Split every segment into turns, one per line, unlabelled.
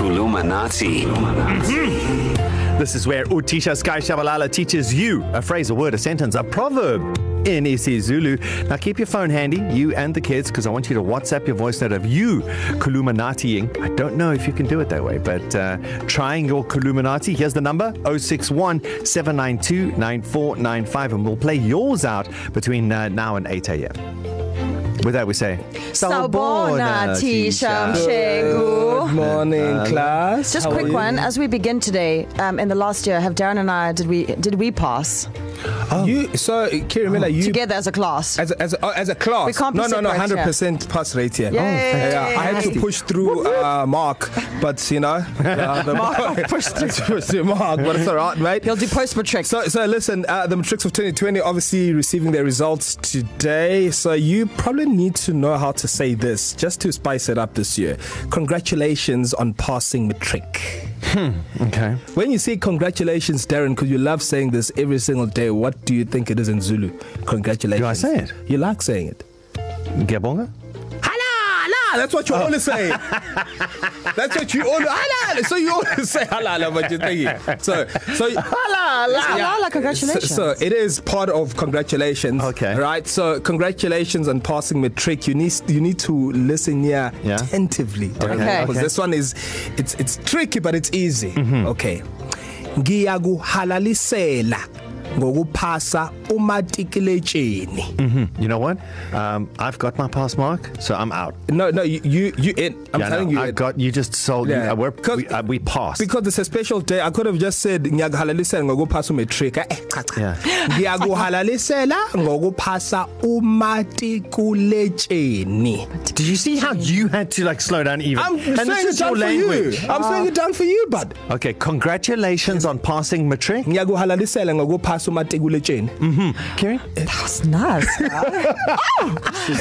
Romanati.
This is where Utisha Sky Shabalala teaches you a phrase, a word, a sentence, a proverb in isiZulu. Now keep your phone handy, you and the kids, because I want you to WhatsApp your voice note of you Kuluminatiing. I don't know if you can do it that way, but uh, trying your Kuluminati. Here's the number 061 792 9495, and we'll play yours out between uh, now and 8 a.m. With that, we say,
Sawubona, Tisha Mshegu.
Good morning, uh, class.
Just
How
a
are
quick
you?
one. As we begin today, um, in the last year, have Darren and I did we did we pass
You so Kiri Miller, you
together as a class?
as a, as a, oh, as a class.
We can't be
no, no, no,
separate, yeah.
hundred percent pass rate here. Oh,
Yay.
Yeah, I had to push through uh, Mark, but you know, yeah, the Mark pushed through Mark, but it's all right, mate.
He'll do post matric.
So, so listen, uh, the Matrix of 2020 obviously receiving their results today. So, you probably need to know how to say this just to spice it up this year. Congratulations on passing Matric.
Okay.
When you say congratulations, Darren, because you love saying this every single day, what do you think it is in Zulu? Congratulations.
Do I say it?
You like saying it.
Gabonga?
Halala! That's what you oh. always say. That's what you always halala. So you always say halala, but you're thinking. So, so halala.
Halala, congratulations.
So, so it is part of congratulations.
Okay.
Right. So congratulations on passing matric. You need you need to listen here
Yeah.
attentively. Darren,
Okay.
Because
Okay.
this one is it's it's tricky but it's easy. Mm-hmm. Okay. Ngiyakuhalalisela ngokuphasa umatikiletsheni.
You know what? Um, I've got my pass mark, so I'm out.
No, no, you you, you in. I'm
yeah,
yeah, telling no, you.
I
in.
got you just sold. Yeah.
Yeah.
You, uh, we're,
'Cause-
we, uh, we passed.
because it's a special day i could have just said ngiyakuhalalisela ngokuphasa umatric eh cha cha
Yeah.
ngiyakuhalalisela ngokuphasa umatikuletsheni
Did you see how you had to like slow down even?
i'm
and
saying
this is
it
your
down for you Uh,
language.
i'm saying it down for you bud
Okay, congratulations on passing matric.
ngiyakuhalalisela ngokuphasa umatikuletsheni
Kiri,
That's nice.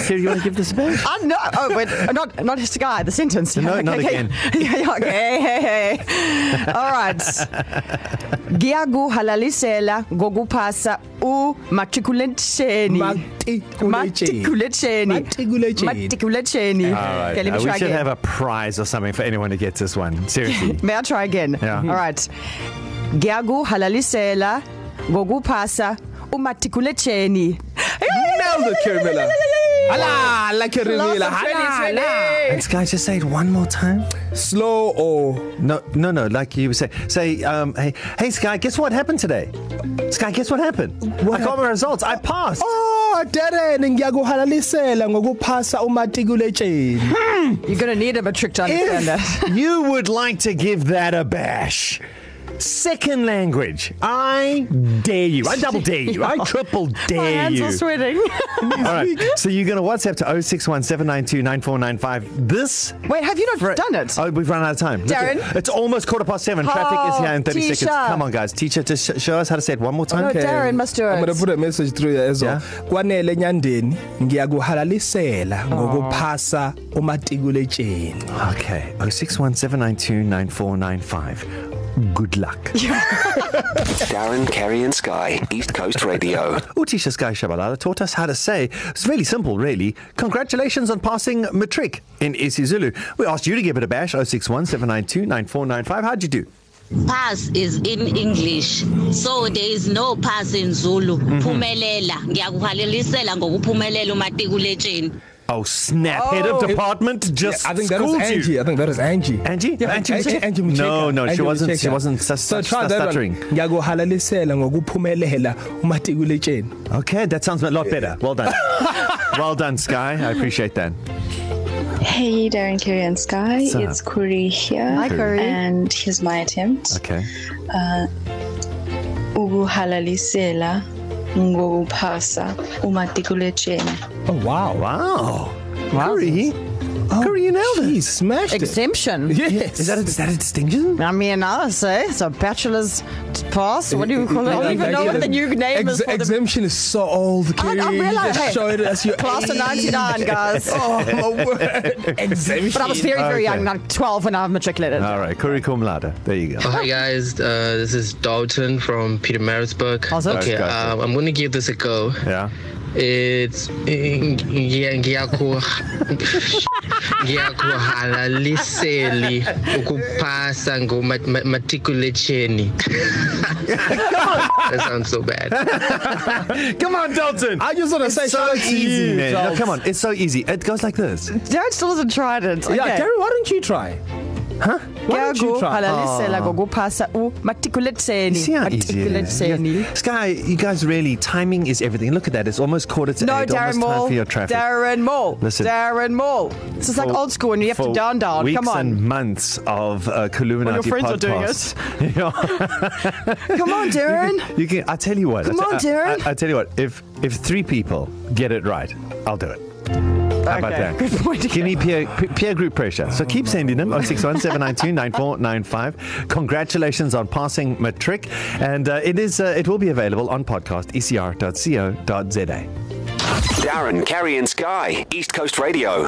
Kiri, you want to give this a bash?
I know. Oh, wait, not not his guy. The sentence.
No, not
okay.
again.
Yeah, yeah, okay. Hey, hey, hey. All right. Giagu halalisela gogupasa u matriculation.
matikuletsheni
Matriculation.
Matriculation.
Matriculation. Okay,
Uh, we
let me try
should
again.
have a prize or something for anyone who gets this one. Seriously.
May I try again?
Yeah.
All right. Giagu halalisela gogupasa u matriculation.
nailed it kerimela halala kerimela halala
Let's guys just say it one more time.
slow or
No, no, no. Like you say, say, um, hey, hey, Sky, guess what happened today? Sky, guess what happened? What I got my results. I passed.
oh darren ngiyakuhalalisela ngokuphasa umatikuletsheni
You're going to need a matric to understand that.
If you would like to give that a bash, second language, I dare you. I double dare you. I triple dare
My hands
you.
are sweating.
All right. So you're going to WhatsApp to 0617929495. This.
Wait, have you not
Right.
done it?
Oh, we've run out of time. Look,
Darren?
It's almost quarter past seven. Traffic is here in 30
Oh,
seconds.
Tisha.
Come on, guys. Teacher, just sh- show us how to say it one more time.
No, Okay. Darren must do it.
I'm going to put a message through there as well.
Yeah.
Kwanele nyandeni ngiyakuhalalisela ngokuphasa umatikuletsheni.
Okay. 0617929495. Good luck.
Darren, Kerry, and Sky, East Coast Radio.
Utisha Sky Shabalala taught us how to say, it's really simple, really, congratulaisians on passing matric in isiZulu. We asked you to give it a bash, 061 792 9495. How'd you do?
pass is in English so there is no pass in Zulu phumelela ngiyakuhalelisela ngokuphumelela umatikuletsheni
Oh, snap. Oh, Head of department just
I think that was
schooled
Angie.
you.
I think that is Angie.
Angie?
Yeah,
Angie
Angie,
Mutshekga?
Angie Mutshekga.
No, no, she
Angie
wasn't-
Mutshekga.
she wasn't sus-
So
sus-
try that one.
stuttering.
Ngiyakuhalalisela ngokuphumelela umatikuletsheni.
Okay, that sounds a lot better. Well done. well done, Sky. I appreciate that.
Hey, Darren, Kerry, and Sky.
Sup?
It's Kuri here.
Hi, Kuri.
And here's my attempt.
Okay.
Ukuhalalisela ngokuphasa umatikuletsheni.
Oh, wow.
Wow. Wow. Curry. Oh, Curry, you nailed it.
He smashed it.
Exemption.
Yes.
Is that, a, is that a distinction?
I mean, I'll say it's a bachelor's t- pass. What do you call it? I don't even know what the new name
Ex-
is for the
Exemption is so old.
I- I'm
Kerry. You
realising-
just
hey,
show it as your
class of
age.
99, guys.
Oh, my word. Exemption.
But I was very, very
Okay.
young, like 12 when I matriculated.
Ah,
All right, Curry cum laude. There you go.
Oh, hi guys, uh, this is Dalton from Peter Marisburg.
Awesome.
Okay,
Guys, guys.
um, I'm gonna give this a go. eh,
Yeah.
It's Ngiyaku. ngiyakuhalaliseli ukupasa ngomatikuletsheni that sounds so bad
Come on, Dalton.
I just want to say shout out to
easy,
you,
man. No,
Charles.
come on, it's so easy. It goes like this.
Jared still hasn't tried it.
Yeah,
Okay.
Gary, why don't you try? Huh? Why don't you
Ngiyagu
try?
halalisela ngokuphasa
You
u
see how easy it
matikuleteni.
Ah. is.
Matikuleteni.
Yeah. Sky, you guys really timing is everything. Look at that. It's almost quarter to
No,
eight.
Darren
almost time
Moore.
for your traffic.
Darren Moore.
Listen.
Darren Moore. This is like
for-
old school and you have to
for
down down.
Weeks
Come on.
and months of uh, Kaluminati
Well, your friends are doing
podcasts. are doing it. Yeah.
Come on, Darren.
you can. I tell you what.
Come
I
on,
te- I,
Darren.
I, I tell you what. If if three people get it right, I'll do it. How about
Okay,
that?
good point.
Give me peer, pe- peer group pressure. So keep sending them oh on 617929495. Congratulations on passing matric, and uh, it is uh, it will be available on podcast E ecr.co.za.
Darren, Kerry, and Sky, East Coast Radio.